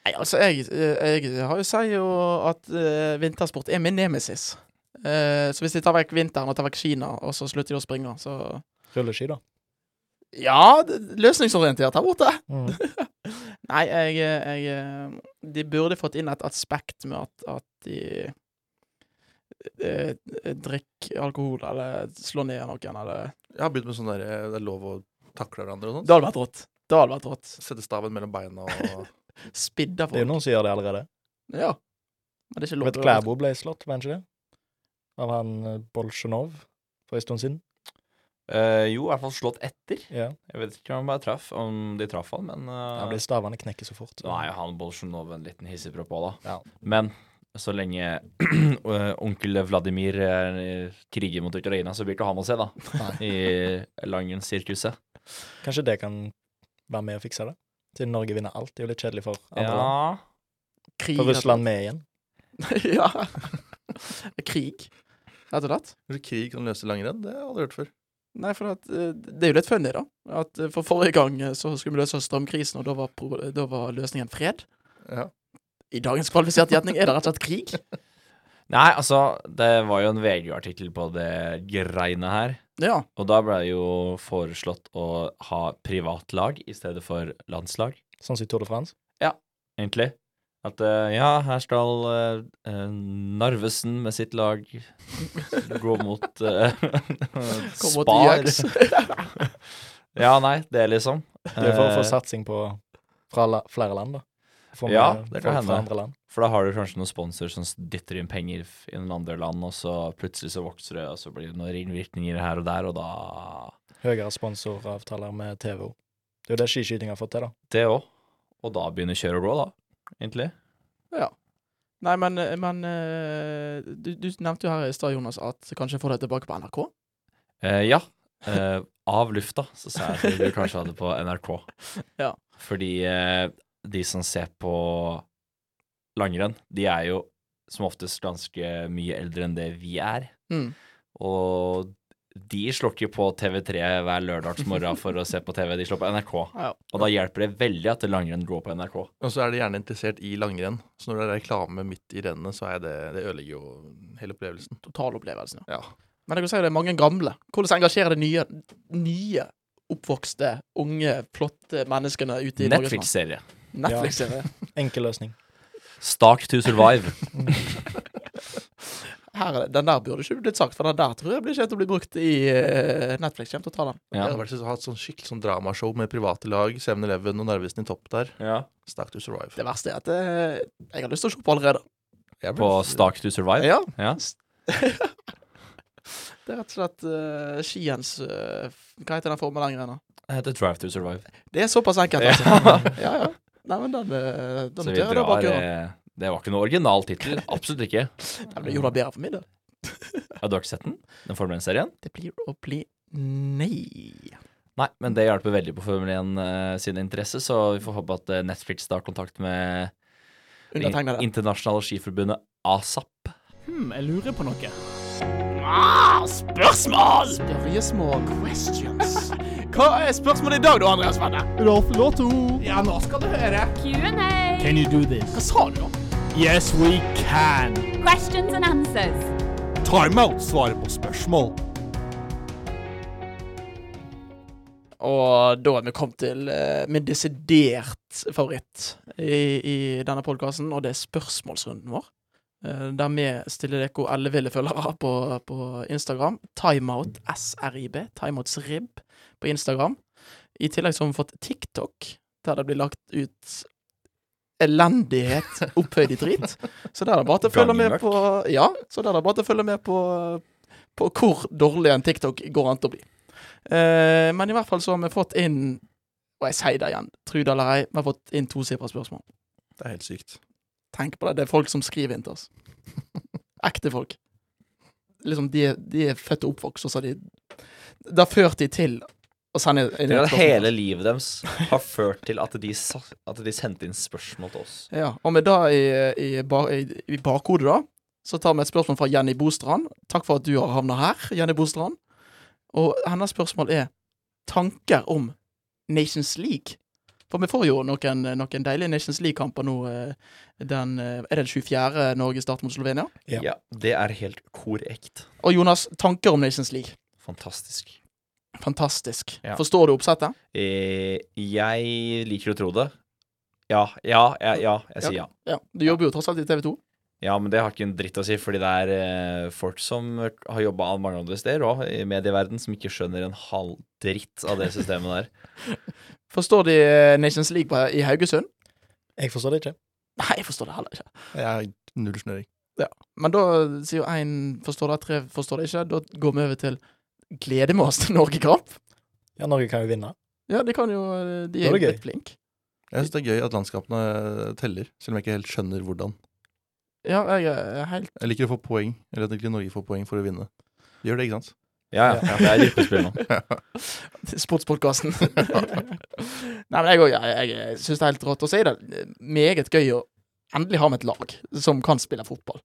Speaker 1: Nei, altså, jeg, jeg har jo sier jo at eh, vintersport er min nemesis. Eh, så hvis de tar vekk vinteren og tar vekk Kina, og så slutter de å springe, så
Speaker 3: Rulleski, da.
Speaker 1: Ja, det- løsningsorientert her borte.
Speaker 3: Mm.
Speaker 1: Nei, jeg, jeg eh, De burde fått inn et aspekt med at, at de eh, drikker alkohol eller slår ned noen eller
Speaker 2: Jeg har begynt med sånn der eh, det er lov å takle hverandre og sånn.
Speaker 1: Det hadde vært rått. Det hadde vært rått.
Speaker 2: Sette staven mellom beina og
Speaker 1: Spidda
Speaker 3: Det er jo
Speaker 1: folk.
Speaker 3: noen som gjør det allerede.
Speaker 1: Ja. Men det er ikke lov
Speaker 3: Vet Klæbo ble slått, var han ikke det? Av han eh, Bolsjunov for en stund siden.
Speaker 4: eh, Jo, i hvert fall slått etter.
Speaker 3: Ja.
Speaker 4: Jeg vet ikke om, jeg traff, om de traff han, men eh,
Speaker 3: Han ble stavene knekker så fort.
Speaker 4: Nå er jo han Bolsjunov en liten hissigpropp òg, da.
Speaker 3: Ja.
Speaker 4: Men så lenge eh, onkel Vladimir eh, kriger mot Ukraina, så blir ikke han å se, da. I Langen-sirkuset.
Speaker 3: Kanskje det kan være med å fikse det? Siden Norge vinner alt. Det er jo litt kjedelig for andre land.
Speaker 4: Ja.
Speaker 1: Krig.
Speaker 3: For Russland med igjen.
Speaker 1: ja. Krig, rett og slett.
Speaker 2: Kanskje krig kan løse langrenn? Det har jeg aldri hørt før.
Speaker 1: Nei, for at, eh, det er jo litt funny, da. At eh, For forrige gang eh, så skulle vi løse strømkrisen, og da var, pro da var løsningen fred.
Speaker 2: Ja.
Speaker 1: I dagens kvalifiserte gjetning er det rett og slett krig.
Speaker 4: Nei, altså, det var jo en VG-artikkel på det greiene her.
Speaker 1: Ja.
Speaker 4: Og da ble det jo foreslått å ha privatlag i stedet for landslag,
Speaker 3: Sånn som i Tour de France.
Speaker 4: egentlig. At eh, ja, her skal eh, eh, Narvesen med sitt lag gå mot eh,
Speaker 1: Kom og
Speaker 4: Spar.
Speaker 1: til Jaks.
Speaker 4: Ja, nei, det liksom.
Speaker 3: Det er for å få
Speaker 4: Eh,
Speaker 3: satsing på fra la, flere land, da. Få med
Speaker 4: Ja, det kan
Speaker 3: folk
Speaker 4: hende.
Speaker 3: Fra andre land.
Speaker 4: For da har du kanskje noen sponsor som dytter inn penger f- i noen andre land, og så plutselig så vokser det, og så blir det noen ringvirkninger her og der, og da
Speaker 3: Høyere sponsoravtaler med TVO. Det er jo det skiskyting har fått til, da.
Speaker 4: Det òg. Og da begynner kjør og gå, da, egentlig.
Speaker 1: Nei, men, eh, men eh, du, du nevnte jo her i stad, Jonas, at kanskje få deg tilbake på NRK.
Speaker 4: Eh, ja. Eh, av lufta, så sa jeg at du kanskje hadde på NRK.
Speaker 1: Ja.
Speaker 4: Fordi eh, de som ser på langrenn, de er jo som oftest ganske mye eldre enn det vi er.
Speaker 1: Mm.
Speaker 4: Og de slår ikke på TV3 hver lørdagsmorgen for å se på TV, de slår på NRK.
Speaker 1: Ja.
Speaker 4: Og da hjelper det veldig at langrenn går på NRK.
Speaker 2: Og så er de gjerne interessert i langrenn. Så når det er reklame midt i rennet, så er det, det ødelegger jo hele opplevelsen.
Speaker 1: Totalopplevelsen,
Speaker 2: Ja.
Speaker 1: Men jeg kan si det er mange gamle. Hvordan engasjerer det nye, nye oppvokste, unge, flotte menneskene ute i Norges land?
Speaker 4: Netflix-serie.
Speaker 1: Netflix. er det.
Speaker 3: Enkel løsning.
Speaker 4: Start to survive.
Speaker 1: Her er det. Den der burde ikke blitt sagt, for den der tror jeg blir ikke til å bli brukt i eh, Netflix. Kjem til å ta den.
Speaker 2: Jeg
Speaker 4: Ja.
Speaker 2: hadde vært så- hatt sånn skikkelig sånn dramashow med private lag, 7-Eleven og Narvesen i topp der.
Speaker 4: ja.
Speaker 2: Stack to survive.
Speaker 1: Det verste er at eh, jeg har lyst til å se på allerede.
Speaker 2: Jeg ble-
Speaker 4: På Start to survive.
Speaker 1: Ja.
Speaker 4: Ja.
Speaker 1: Det er rett og slett eh, skiens eh, f- Hva heter den formen lenger ennå?
Speaker 4: Det heter Drive to survive.
Speaker 1: Det er såpass enkelt,
Speaker 4: Ja.
Speaker 1: altså. Ja, ja. Nei, men den, eh, den
Speaker 4: Så vi
Speaker 1: dør da
Speaker 4: drar
Speaker 1: bak øret.
Speaker 4: eh, Det var ikke noe original tittel. Absolutt ikke.
Speaker 1: Det blir jo da bedre for min del.
Speaker 4: Har du ikke sett den? Den Formel 1-serien?
Speaker 1: Det blir å bli Nei.
Speaker 4: Nei, men det hjelper veldig på Formel 1 eh, sin interesse, så vi får håpe at eh, Netflix tar kontakt med Det
Speaker 1: Undertegnede.
Speaker 4: internasjonale skiforbundet ASAP.
Speaker 8: Hmm, jeg lurer på noe.
Speaker 1: Ah, spørsmål! Spørsmål questions. Hva er spørsmålet i dag, da, Andreas Venne?
Speaker 9: Rolf Lotto.
Speaker 1: Ja, nå skal du høre.
Speaker 10: Q&A.
Speaker 9: Can you do this?
Speaker 1: Hva sa du nå?
Speaker 9: Yes, we can.
Speaker 10: Questions and answers.
Speaker 9: Timeout svarer på spørsmål.
Speaker 1: Og da er vi kommet til eh, min desidert favoritt i, i denne podkasten, og det er spørsmålsrunden vår. Eh, der vi stiller dere elleville følgere på, på Instagram. Timeout SRIB. Timeouts rib på Instagram. I tillegg så har vi fått TikTok, der det blir lagt ut elendighet opphøyd i drit. Så der er det bare til å følge med
Speaker 4: Gangmørk.
Speaker 1: på Ja, så der er det bare til å følge med på, på hvor dårlig en TikTok går an til å bli. Eh, men i hvert fall så har vi fått inn Og jeg sier det igjen, tro det eller ei, vi har fått inn tosifra spørsmål.
Speaker 2: Det er helt sykt.
Speaker 1: Tenk på det, det er folk som skriver inn til oss. Ekte folk. Liksom, de, er- de er født og oppvokst, og så har de Det har ført de til å sende inn
Speaker 4: Tenk
Speaker 1: et
Speaker 4: at
Speaker 1: spørsmål.
Speaker 4: hele livet deres har ført til at de, sa- at de sendte inn spørsmål til oss.
Speaker 1: Ja, og med det i, i, ba- i, i bakhodet, da, så tar vi et spørsmål fra Jenny Bostrand. Takk for at du har havna her, Jenny Bostrand. Og hennes spørsmål er tanker om Nations League. For vi får jo noen, noen deilige Nations League-kamper nå. eh, Den, eh, er det den 24. Norge starter mot Slovenia?
Speaker 3: Ja.
Speaker 4: Ja, det er helt korrekt.
Speaker 1: Og Jonas, tanker om Nations League.
Speaker 4: Fantastisk.
Speaker 1: Fantastisk.
Speaker 4: Ja.
Speaker 1: Forstår du oppsettet?
Speaker 4: Eh, jeg liker å tro det. Ja, ja, ja, ja. Jeg sier ja.
Speaker 1: Ja. Du jobber jo tross alt i TV 2.
Speaker 4: Ja, men det har ikke en dritt å si, fordi det er eh, folk som har jobba mange andre steder òg, i medieverden, som ikke skjønner en halv dritt av det systemet der.
Speaker 1: Forstår de eh, Nations League på- i Haugesund?
Speaker 3: Jeg forstår det ikke.
Speaker 1: Nei, jeg forstår det heller ikke.
Speaker 2: Jeg har null snøring.
Speaker 1: Men da sier jo én forstår det, tre forstår det ikke. Da går vi over til gleder vi oss til Norge-kamp.
Speaker 3: Ja, Norge kan jo vinne.
Speaker 1: Ja, de kan jo eh, De
Speaker 3: Da
Speaker 1: er jo
Speaker 3: er det gøy.
Speaker 1: litt flinke.
Speaker 2: Jeg syns det er gøy at landskapene teller, selv om jeg ikke helt skjønner hvordan.
Speaker 1: Ja, jeg eh, er helt
Speaker 2: Jeg liker å få poeng, eller at egentlig Norge får poeng for å vinne. De gjør det, ikke sant?
Speaker 4: Ja, ja. Det er gruppespill nå.
Speaker 1: Sportspodkasten. Nei, men jeg òg. Jeg, jeg syns det er helt rått. Og så er det meget gøy å endelig ha med et lag som kan spille fotball.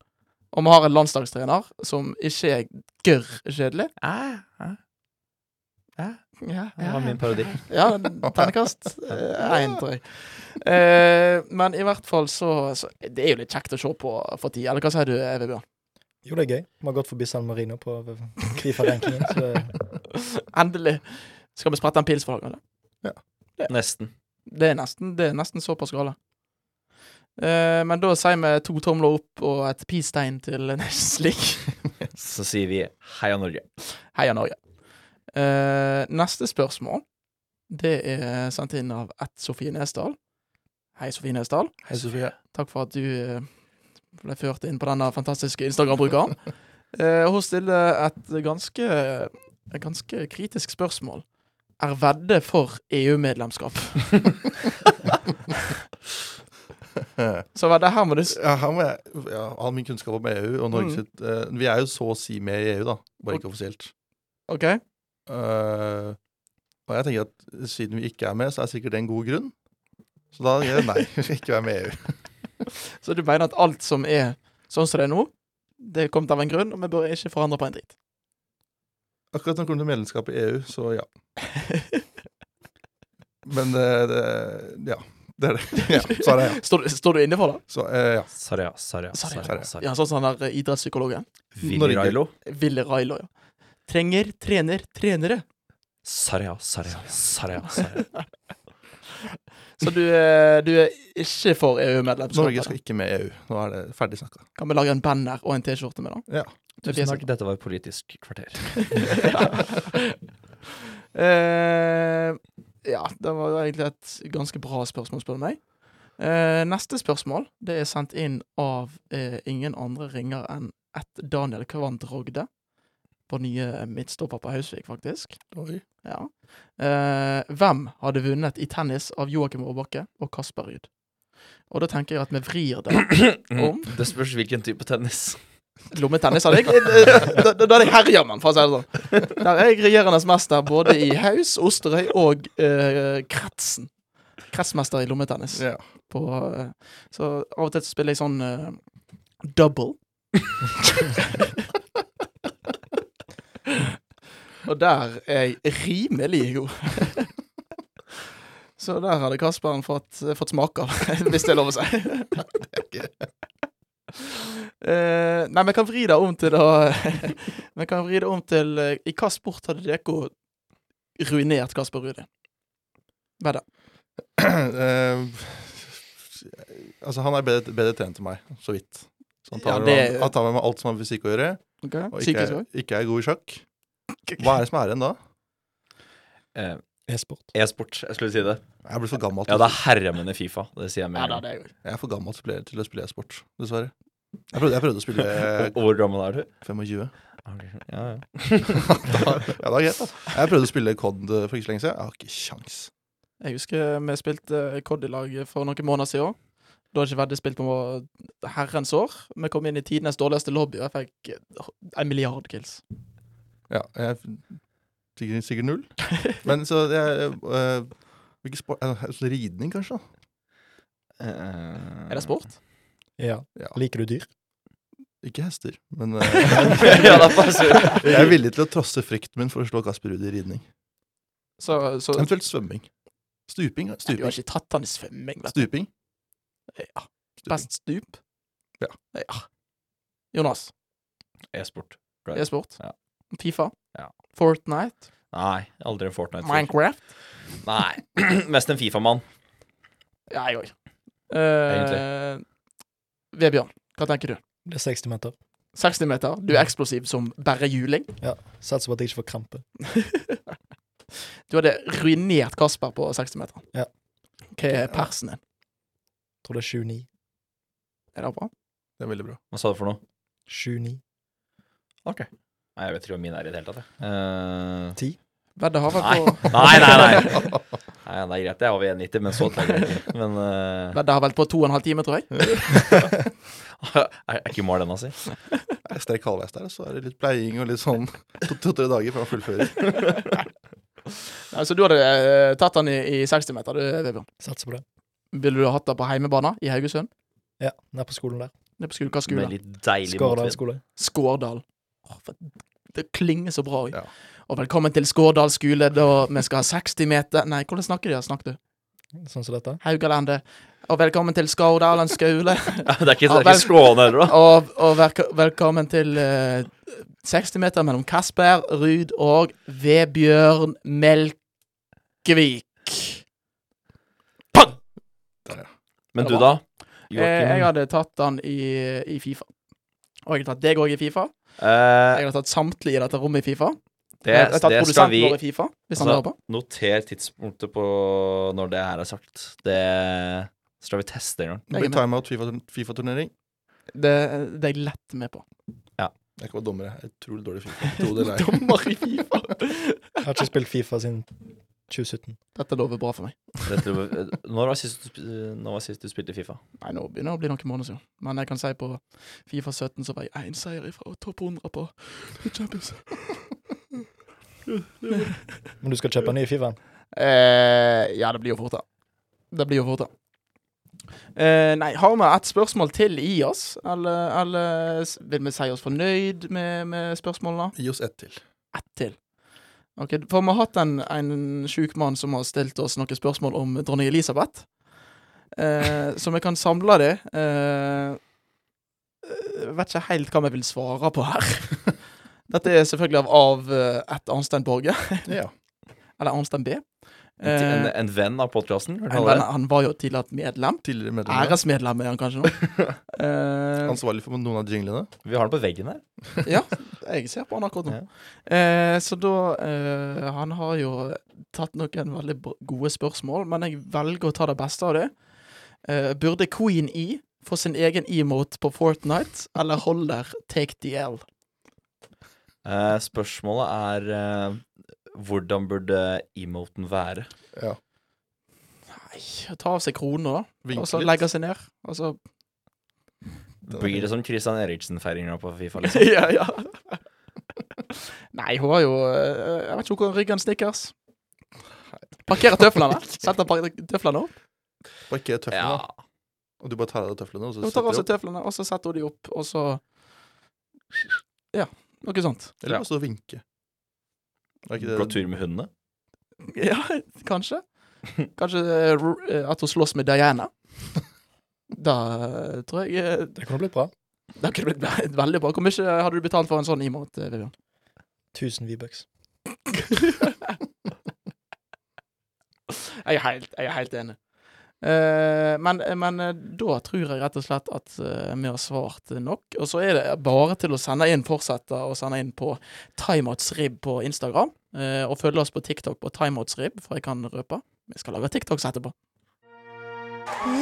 Speaker 1: Og vi har en landslagstrener som ikke er gørr kjedelig. Ja,
Speaker 4: Det var min parodi.
Speaker 1: Ja, ternekast én, tror jeg. Eh, men i hvert fall så, så Det er jo litt kjekt å se på for tida. Eller hva sier du, Vebjørn?
Speaker 3: Jo, det er gøy. Vi har gått forbi San Marino på Fifa-rankingen, så det-
Speaker 1: Endelig skal vi sprette en pils for dere. eller?
Speaker 4: Nesten.
Speaker 1: Det er nesten, det er nesten såpass gale. Eh, men da sier vi to tomler opp og et peace-tegn til Nations League.
Speaker 4: Så sier vi heia Norge.
Speaker 1: Heia Norge. Eh, neste spørsmål, det er sendt inn av ett Sofie Nesdal. Hei, Sofie Nesdal.
Speaker 2: Hei, Sofie.
Speaker 1: Takk for at du eh, ble ført inn på denne fantastiske Instagram-brukeren. Eh, hun stiller et ganske, et ganske kritisk spørsmål. Er Vedde for E EU-medlemskap? Så Vedde, her må du s-
Speaker 2: Ja, her må jeg, ja, all min kunnskap om EU og Norge
Speaker 1: Mm.
Speaker 2: sitt eh, Vi er jo så å si med i EU, da. Bare ikke offisielt.
Speaker 1: OK?
Speaker 2: Eh, og jeg tenker at siden vi ikke er med, så er sikkert det en god grunn. Så da gjør jeg nei, vi vil ikke være med i E EU.
Speaker 1: Så du mener at alt som er sånn som det er nå, det er kommet av en grunn, og vi bør ikke forandre på en dritt?
Speaker 2: Akkurat når det kommer til medlemskap i EU, så ja. Men eh, det, ja. Det er det. Ja, Svaret er ja.
Speaker 1: Står, du- står du inne for det?
Speaker 2: Så, eh, ja.
Speaker 4: Sarja, sarja,
Speaker 1: Sarja,
Speaker 4: sarja. sarja.
Speaker 1: Ja, sånn som han der eh, idrettspsykologen.
Speaker 4: Willy
Speaker 2: Norge.
Speaker 4: Railo.
Speaker 1: Ville Railo, ja. Trenger, trener, trenere.
Speaker 4: Sarja, sarja, sarja. sarja.
Speaker 1: Så du, eh, du er ikke for EU-medlemskap?
Speaker 2: Norge skal ikke med i EU. Nå er det ferdig snakka.
Speaker 1: Kan vi lage en banner og en T-skjorte med, da?
Speaker 2: Ja.
Speaker 1: Med
Speaker 4: Tusen
Speaker 1: fjeset
Speaker 4: takk. Dette var Politisk kvarter.
Speaker 1: på. Eh, ja, det var jo egentlig et ganske bra spørsmål, spør du meg. Eh, neste spørsmål det er sendt inn av eh, ingen andre ringer enn ett Daniel Kvant Rogde. Vår nye eh, midtstopper på Hausvik, faktisk.
Speaker 2: Oi.
Speaker 1: Ja. Eh, hvem hadde vunnet i tennis av Joakim Aabakke og Kasper Ruud? Og da tenker jeg at vi vrir det om
Speaker 4: Mm. Det spørs hvilken type tennis.
Speaker 1: Lommetennis hadde jeg Da da- da hadde jeg herja med den, for å si det sånn. Der er jeg regjerende mester både i Haus, Osterøy og eh, Kretsen. Kretsmester i lommetennis.
Speaker 2: Ja.
Speaker 1: På, eh, så av og til så spiller jeg sånn eh, double. Og der er jeg rimelig god. Så der hadde Kasperen fått, eh, fått smake av, hvis det er lov å si. Eh, nei, men jeg kan vri det om til å Men jeg kan vri det om til eh, I hva sport hadde dere ruinert Kasper Rudi? Hva er det?
Speaker 2: Eh, altså, han er bedre, bedre trent enn meg, så vidt. Så han tar,
Speaker 1: Ja, det-
Speaker 2: med- han tar med meg alt som har med fysikk å gjøre,
Speaker 1: Okay.
Speaker 2: og ikke,
Speaker 1: Psykisk òg?
Speaker 2: er- ikke er god i sjakk. Hva er det som er igjen da?
Speaker 4: Eh,
Speaker 3: E-sport.
Speaker 4: E-sport, jeg skulle si det.
Speaker 2: Jeg blir for gammel
Speaker 4: Ja,
Speaker 2: til,
Speaker 4: det er herremenn i Fifa. Det sier jeg med
Speaker 1: Ja,
Speaker 4: en
Speaker 1: det
Speaker 4: gang.
Speaker 1: hadde jeg òg.
Speaker 2: jeg er for gammel til å spille- til å spille e-sport, dessverre. Jeg prøvde, jeg prøvde å spille
Speaker 4: Og- og Hvor gammel er du?
Speaker 2: 25.
Speaker 4: Ja, ja.
Speaker 2: Da, ja, det er greit, altså. Jeg prøvde å spille COD eh, for ikke så lenge siden. Jeg har ikke kjangs.
Speaker 1: Jeg husker vi spilte COD i lag for noen måneder siden. Da hadde ikke Vedde spilt på herrens år. Vi kom inn i tidenes dårligste lobby, og jeg fikk eh, en milliard kills.
Speaker 2: Ja, jeg sikkert, sikkert null. Men så jeg, øh, Hvilken sport eh, så Ridning, kanskje? da?
Speaker 4: Eh,
Speaker 1: Er det sport?
Speaker 3: Ja.
Speaker 2: Ja.
Speaker 3: Liker du dyr?
Speaker 2: Ikke hester, men øh,
Speaker 4: ja, det er bare så-
Speaker 2: jeg er villig til å trosse frykten min for å slå Kasper Ruud i ridning.
Speaker 1: Så, så Du
Speaker 2: Eventuelt svømming. Stuping. ja, Stuping.
Speaker 1: har ikke tatt han i svømming, vet du.
Speaker 2: Stuping.
Speaker 1: Ja.
Speaker 2: Stuping.
Speaker 1: Best stup? ah.
Speaker 2: Ja.
Speaker 1: Jonas,
Speaker 4: E-sport.
Speaker 1: e-sport?
Speaker 4: Ja.
Speaker 1: Fifa?
Speaker 4: Ja.
Speaker 1: Fortnite?
Speaker 4: Nei, aldri en Fortnite.
Speaker 1: Minecraft?
Speaker 4: Nei, mest en Fifa-mann.
Speaker 1: Ja, jeg òg.
Speaker 4: Egentlig.
Speaker 1: Vebjørn, hva tenker du?
Speaker 3: Det er 60 meter.
Speaker 1: 60 meter, du er eksplosiv som bare juling.
Speaker 3: Satser på at jeg ikke får krampe.
Speaker 1: Du hadde ruinert Kasper på 60-meteren.
Speaker 3: Ja.
Speaker 1: Hva er persen din?
Speaker 3: Tror det er 7-9.
Speaker 1: Er det bra?
Speaker 2: Det er veldig bra.
Speaker 4: Hva sa du for noe?
Speaker 3: 7-9.
Speaker 4: Nei, jeg vet ikke hva min er i det hele tatt. jeg. Eh,
Speaker 1: Vedde har
Speaker 4: Nei.
Speaker 1: vel på
Speaker 4: nei, nei, nei. nei. Det er greit, det har vi 1,90, men så trenger jeg ikke. Men eh,
Speaker 1: Vedde har vel på to og en halv time, tror jeg.
Speaker 4: er, er ikke altså? mål ennå, si.
Speaker 2: Jeg er sterk halvveis der, og så er det litt pleiing og litt sånn to-tre dager før han fullfører.
Speaker 1: Nei, Så du hadde eh, tatt han i, i 60-meter, du, Vebjørn.
Speaker 3: Satser på det.
Speaker 1: Ville du ha hatt det på heimebane i Haugesund?
Speaker 3: Ja, nede på skolen der.
Speaker 1: Nede på skole, hva skole?
Speaker 4: Med litt deilig
Speaker 3: Skårdal
Speaker 4: motvind.
Speaker 3: skole.
Speaker 1: Skårdal. Åh, for- Det klinger så bra. oi.
Speaker 2: Ja.
Speaker 1: Og velkommen til Skårdal skole, da vi skal ha 60 meter Nei, hvordan snakker de? her? Snakk du.
Speaker 3: Sånn som dette.
Speaker 1: Haugalandet. Og velkommen til Skårdalen skole.
Speaker 4: Ja, det er ikke, det er ikke Skåne heller, da.
Speaker 1: og og velko- velkommen til eh, 60 meter mellom Kasper Ruud og Vebjørn Melkevik.
Speaker 4: Men du, da?
Speaker 1: Eh, jeg
Speaker 4: Joakim.
Speaker 1: hadde tatt han i, i Fifa. Og jeg har tatt deg òg i Fifa.
Speaker 4: Eh,
Speaker 1: Jeg har tatt samtlige i dette rommet i Fifa. jeg
Speaker 4: det,
Speaker 1: har tatt
Speaker 4: det skal
Speaker 1: produsenten
Speaker 4: vi
Speaker 1: vår i Fifa, hvis han
Speaker 4: Altså,
Speaker 1: hører på.
Speaker 4: Noter tidspunktet på når det her er sagt. Det skal vi teste en gang.
Speaker 2: Det blir timeout FIFA- Fifa-turnering.
Speaker 1: Det, det er jeg lett med på.
Speaker 2: jeg kan være dommer, jeg. Jeg er Utrolig dårlig i Fifa. Tro det eller ei.
Speaker 1: Dommer i Fifa.
Speaker 3: Jeg har ikke spilt Fifa siden 2017.
Speaker 1: Dette lover bra for meg.
Speaker 4: Dette, når, var sist du, sp- når var sist du spilte Fifa?
Speaker 1: Nei, nå begynner det å bli noen måneder siden. Men jeg kan si på Fifa 17 så var jeg én seier ifra topp 100 på Champions.
Speaker 3: Men du skal kjøpe ny Fifa?
Speaker 1: Eh, ja, det blir jo fort, da. Det blir jo fort, da. Eh, nei, har vi et spørsmål til i oss? Eller, eller s- vil vi si oss fornøyd med, med spørsmålene?
Speaker 2: Gi oss ett til.
Speaker 1: ett til. Ok, For vi har hatt en, en sjuk mann som har stilt oss noen spørsmål om dronning Elisabeth. Eh, så vi kan samle det. Eh, eh, vet ikke helt hva vi vil svare på her. Dette er selvfølgelig av, av eh, et Arnstein Borge.
Speaker 2: Ja.
Speaker 1: Eller Arnstein B.
Speaker 4: En, ti- en,
Speaker 1: Eh,
Speaker 4: en venn av podkasten?
Speaker 1: han, var- han var jo tidligere et medlem.
Speaker 2: Tidligere medlem.
Speaker 1: Æresmedlem er han kanskje nå. Eh,
Speaker 2: Ansvarlig for noen av jinglene.
Speaker 4: Vi har den på veggen her.
Speaker 1: Jeg ser på han akkurat nå. Eh, så da eh, Han har jo tatt noen veldig b- gode spørsmål, men jeg velger å ta det beste av det. Eh, burde Queen E få sin egen emote på Fortnite, eller holder Take the L?
Speaker 4: Eh, spørsmålet er eh, hvordan burde emoten være?
Speaker 2: Ja.
Speaker 1: Nei, ta av seg krona, da, og så
Speaker 2: Vinke litt.
Speaker 1: legge seg ned. Og så
Speaker 4: Blir det som Christian Eriksen-feiringa på Fifa? Liksom?
Speaker 1: Ja, ja. Nei, hun har jo eh, Jeg vet ikke hvor ryggen stikkers. Parkere tøflene. Setter par- tøflene opp.
Speaker 2: Parker tøflene,
Speaker 4: Ja.
Speaker 2: da. og du bare tar av deg tøflene. Og så
Speaker 1: Hun
Speaker 2: setter
Speaker 1: tar
Speaker 2: du
Speaker 1: også
Speaker 2: opp.
Speaker 1: tøflene, og så setter hun de opp, og så Ja, noe sånt.
Speaker 2: Eller bare stå og vinke. Er ikke
Speaker 4: Gå
Speaker 2: det
Speaker 4: tur med hundene?
Speaker 1: Ja, kanskje. Kanskje eh, Ru- eh, at hun slåss med Diana. Da eh, tror jeg eh,
Speaker 3: Det kunne blitt bra.
Speaker 1: Det kunne blitt ve- veldig bra. Hvor mye hadde du betalt for en sånn i måned, eh, Vivian?
Speaker 3: 1000 V-bucks.
Speaker 1: Jeg er helt, jeg er helt enig. Eh, men, men eh, da tror jeg rett og slett at eh, vi har svart nok. Og så er det bare til å sende inn fortsette å sende inn på timeoutsrib på Instagram. eh, og følge oss på TikTok på timeoutsrib, for jeg kan røpe. Vi skal lage TikToks etterpå.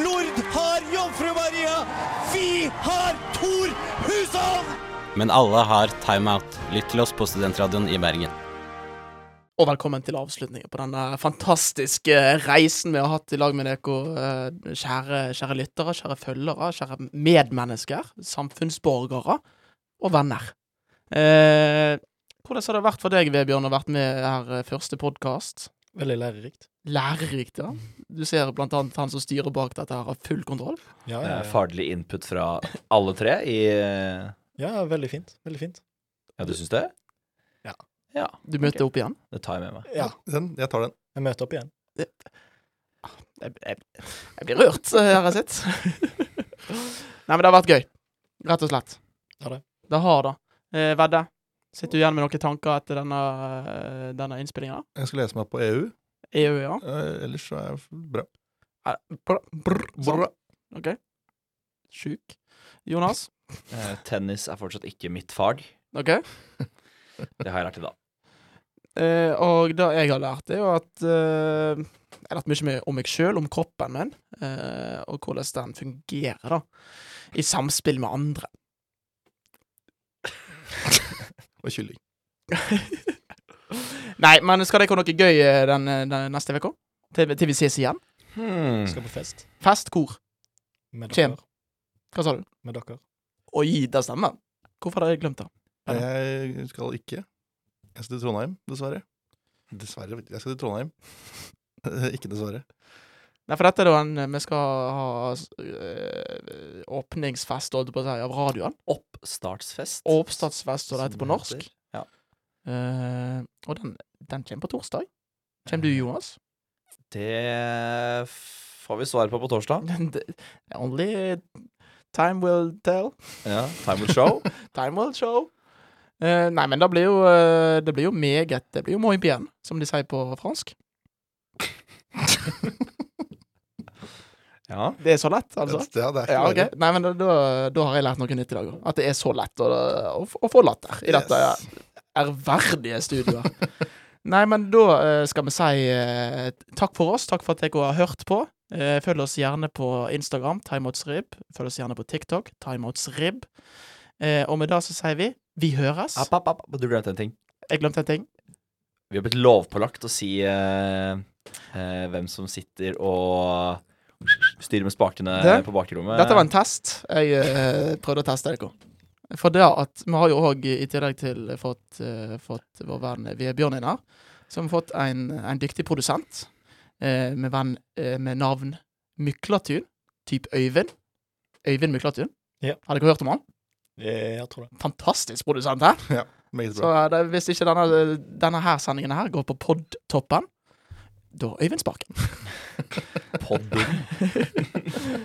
Speaker 9: Nord har Jomfru Maria! Vi har Thor Hushovd!
Speaker 11: Men alle har timeout. Lytt til oss på Studentradioen i Bergen.
Speaker 1: Og velkommen til avslutningen på denne fantastiske eh, reisen vi har hatt i lag med dere, eh, kjære, kjære lyttere, kjære følgere, kjære medmennesker, samfunnsborgere og venner. Eh, hvordan har det vært for deg, Vebjørn, å ha vært med her eh, første podkast?
Speaker 3: Veldig lærerikt.
Speaker 1: Lærerikt, ja. Du ser blant annet han som styrer bak dette, her har full kontroll.
Speaker 3: Ja, ja,
Speaker 4: Eh,
Speaker 3: ja.
Speaker 4: Faglig input fra alle tre i eh,
Speaker 3: ja, veldig fint. Veldig fint.
Speaker 4: Ja, du syns det?
Speaker 3: Ja.
Speaker 4: ja.
Speaker 1: Du møter opp igjen.
Speaker 4: Det tar jeg med meg.
Speaker 3: Ja,
Speaker 2: Den, jeg tar den.
Speaker 3: jeg møter opp igjen.
Speaker 1: Jeg, jeg, jeg blir rørt, eh, her jeg sitter. Nei, men det har vært gøy. Rett og slett.
Speaker 3: Det har det.
Speaker 1: Det har det. Eh, Vedde, sitter du igjen med noen tanker etter denne, eh, denne innspillinga?
Speaker 2: Jeg skal lese meg opp på EU.
Speaker 1: EU, ja.
Speaker 2: Eh, ellers så er jeg f- bra.
Speaker 1: Eh, brr, brr, sånn.
Speaker 2: Bra.
Speaker 1: OK. Sjuk. Jonas?
Speaker 4: Eh, tennis er fortsatt ikke mitt fag.
Speaker 1: OK.
Speaker 4: Det har jeg lært i dag.
Speaker 1: Eh, og det jeg har lært, er jo at eh, Jeg har lært mye mer om meg sjøl, om kroppen min, eh, og hvordan den fungerer, da. I samspill med andre.
Speaker 2: Og kylling.
Speaker 1: Nei, men skal dere ha noe gøy eh, den, den neste uke? Til, til vi ses igjen?
Speaker 4: Mm.
Speaker 3: Skal på fest.
Speaker 1: Fest, kor.
Speaker 3: Med
Speaker 1: Kjem.
Speaker 3: dere.
Speaker 1: Hva sa du?
Speaker 3: Med dere.
Speaker 1: Oi, det stemmer. Hvorfor hadde jeg glemt det? Ja.
Speaker 2: Jeg skal ikke. Jeg skal til Trondheim, dessverre. Dessverre, vet du. jeg skal til Trondheim. ikke dessverre.
Speaker 1: Nei, for dette er da en eh, Vi skal ha øh, åpningsfest, holdt jeg på å si, av radioen.
Speaker 4: Oppstartsfest.
Speaker 1: Og oppstartsfest, som det heter på
Speaker 4: som
Speaker 1: norsk.
Speaker 4: heter. Ja.
Speaker 1: Eh, og den, den kommer på torsdag. Kommer du, Jonas?
Speaker 4: Det får vi svar på på torsdag.
Speaker 1: Only time will tell.
Speaker 4: Ja, Time will show.
Speaker 1: Time will show. Eh, nei, men det blir jo eh, Det blir jo meget Det blir jo moi bien, som de sier på fransk.
Speaker 4: ja.
Speaker 1: Det er så lett, altså.
Speaker 2: Ja, det
Speaker 1: Ja,
Speaker 2: er ikke verre.
Speaker 1: ok. Nei, men da, da, da har jeg lært noe nytt i dag òg. At det er så lett å, å, å få latter i dette
Speaker 2: Yes.
Speaker 1: ærverdige studioet. Nei, men da eh, skal vi si eh, takk for oss. Takk for at dere har hørt på. Eh, følg oss gjerne på Instagram, timeoutsrib. Følg oss gjerne på TikTok, timeoutsrib. Eh, og med det så sier vi vi høres.
Speaker 4: App, app, app. Du glemte en ting.
Speaker 1: Jeg glemte en ting.
Speaker 4: Vi har blitt lovpålagt å si eh, eh, hvem som sitter og styrer med spakene
Speaker 1: Det-
Speaker 4: på bakrommet.
Speaker 1: Dette var en test. Jeg eh, prøvde å teste dere. For det at vi har jo òg, i tillegg til fått, eh, fått vår venn Vebjørn inn her, så har vi fått en, en dyktig produsent eh, med, venn, eh, med navn Myklatun, type Øyvind. Øyvind Myklatun.
Speaker 3: Ja.
Speaker 1: Har dere hørt om han?
Speaker 3: Jeg tror det.
Speaker 1: Fantastisk produsent her.
Speaker 2: Meget
Speaker 1: Så
Speaker 2: bra.
Speaker 1: eh, det, hvis ikke denne, denne her sendingen her går på podtoppen, da er Øyvind Spaken.
Speaker 4: Podden.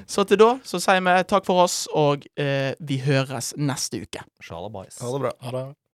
Speaker 1: Så til da så sier vi takk for oss, og eh, vi høres neste uke.
Speaker 4: Shalabais.
Speaker 2: Ha det bra.
Speaker 3: Ha det.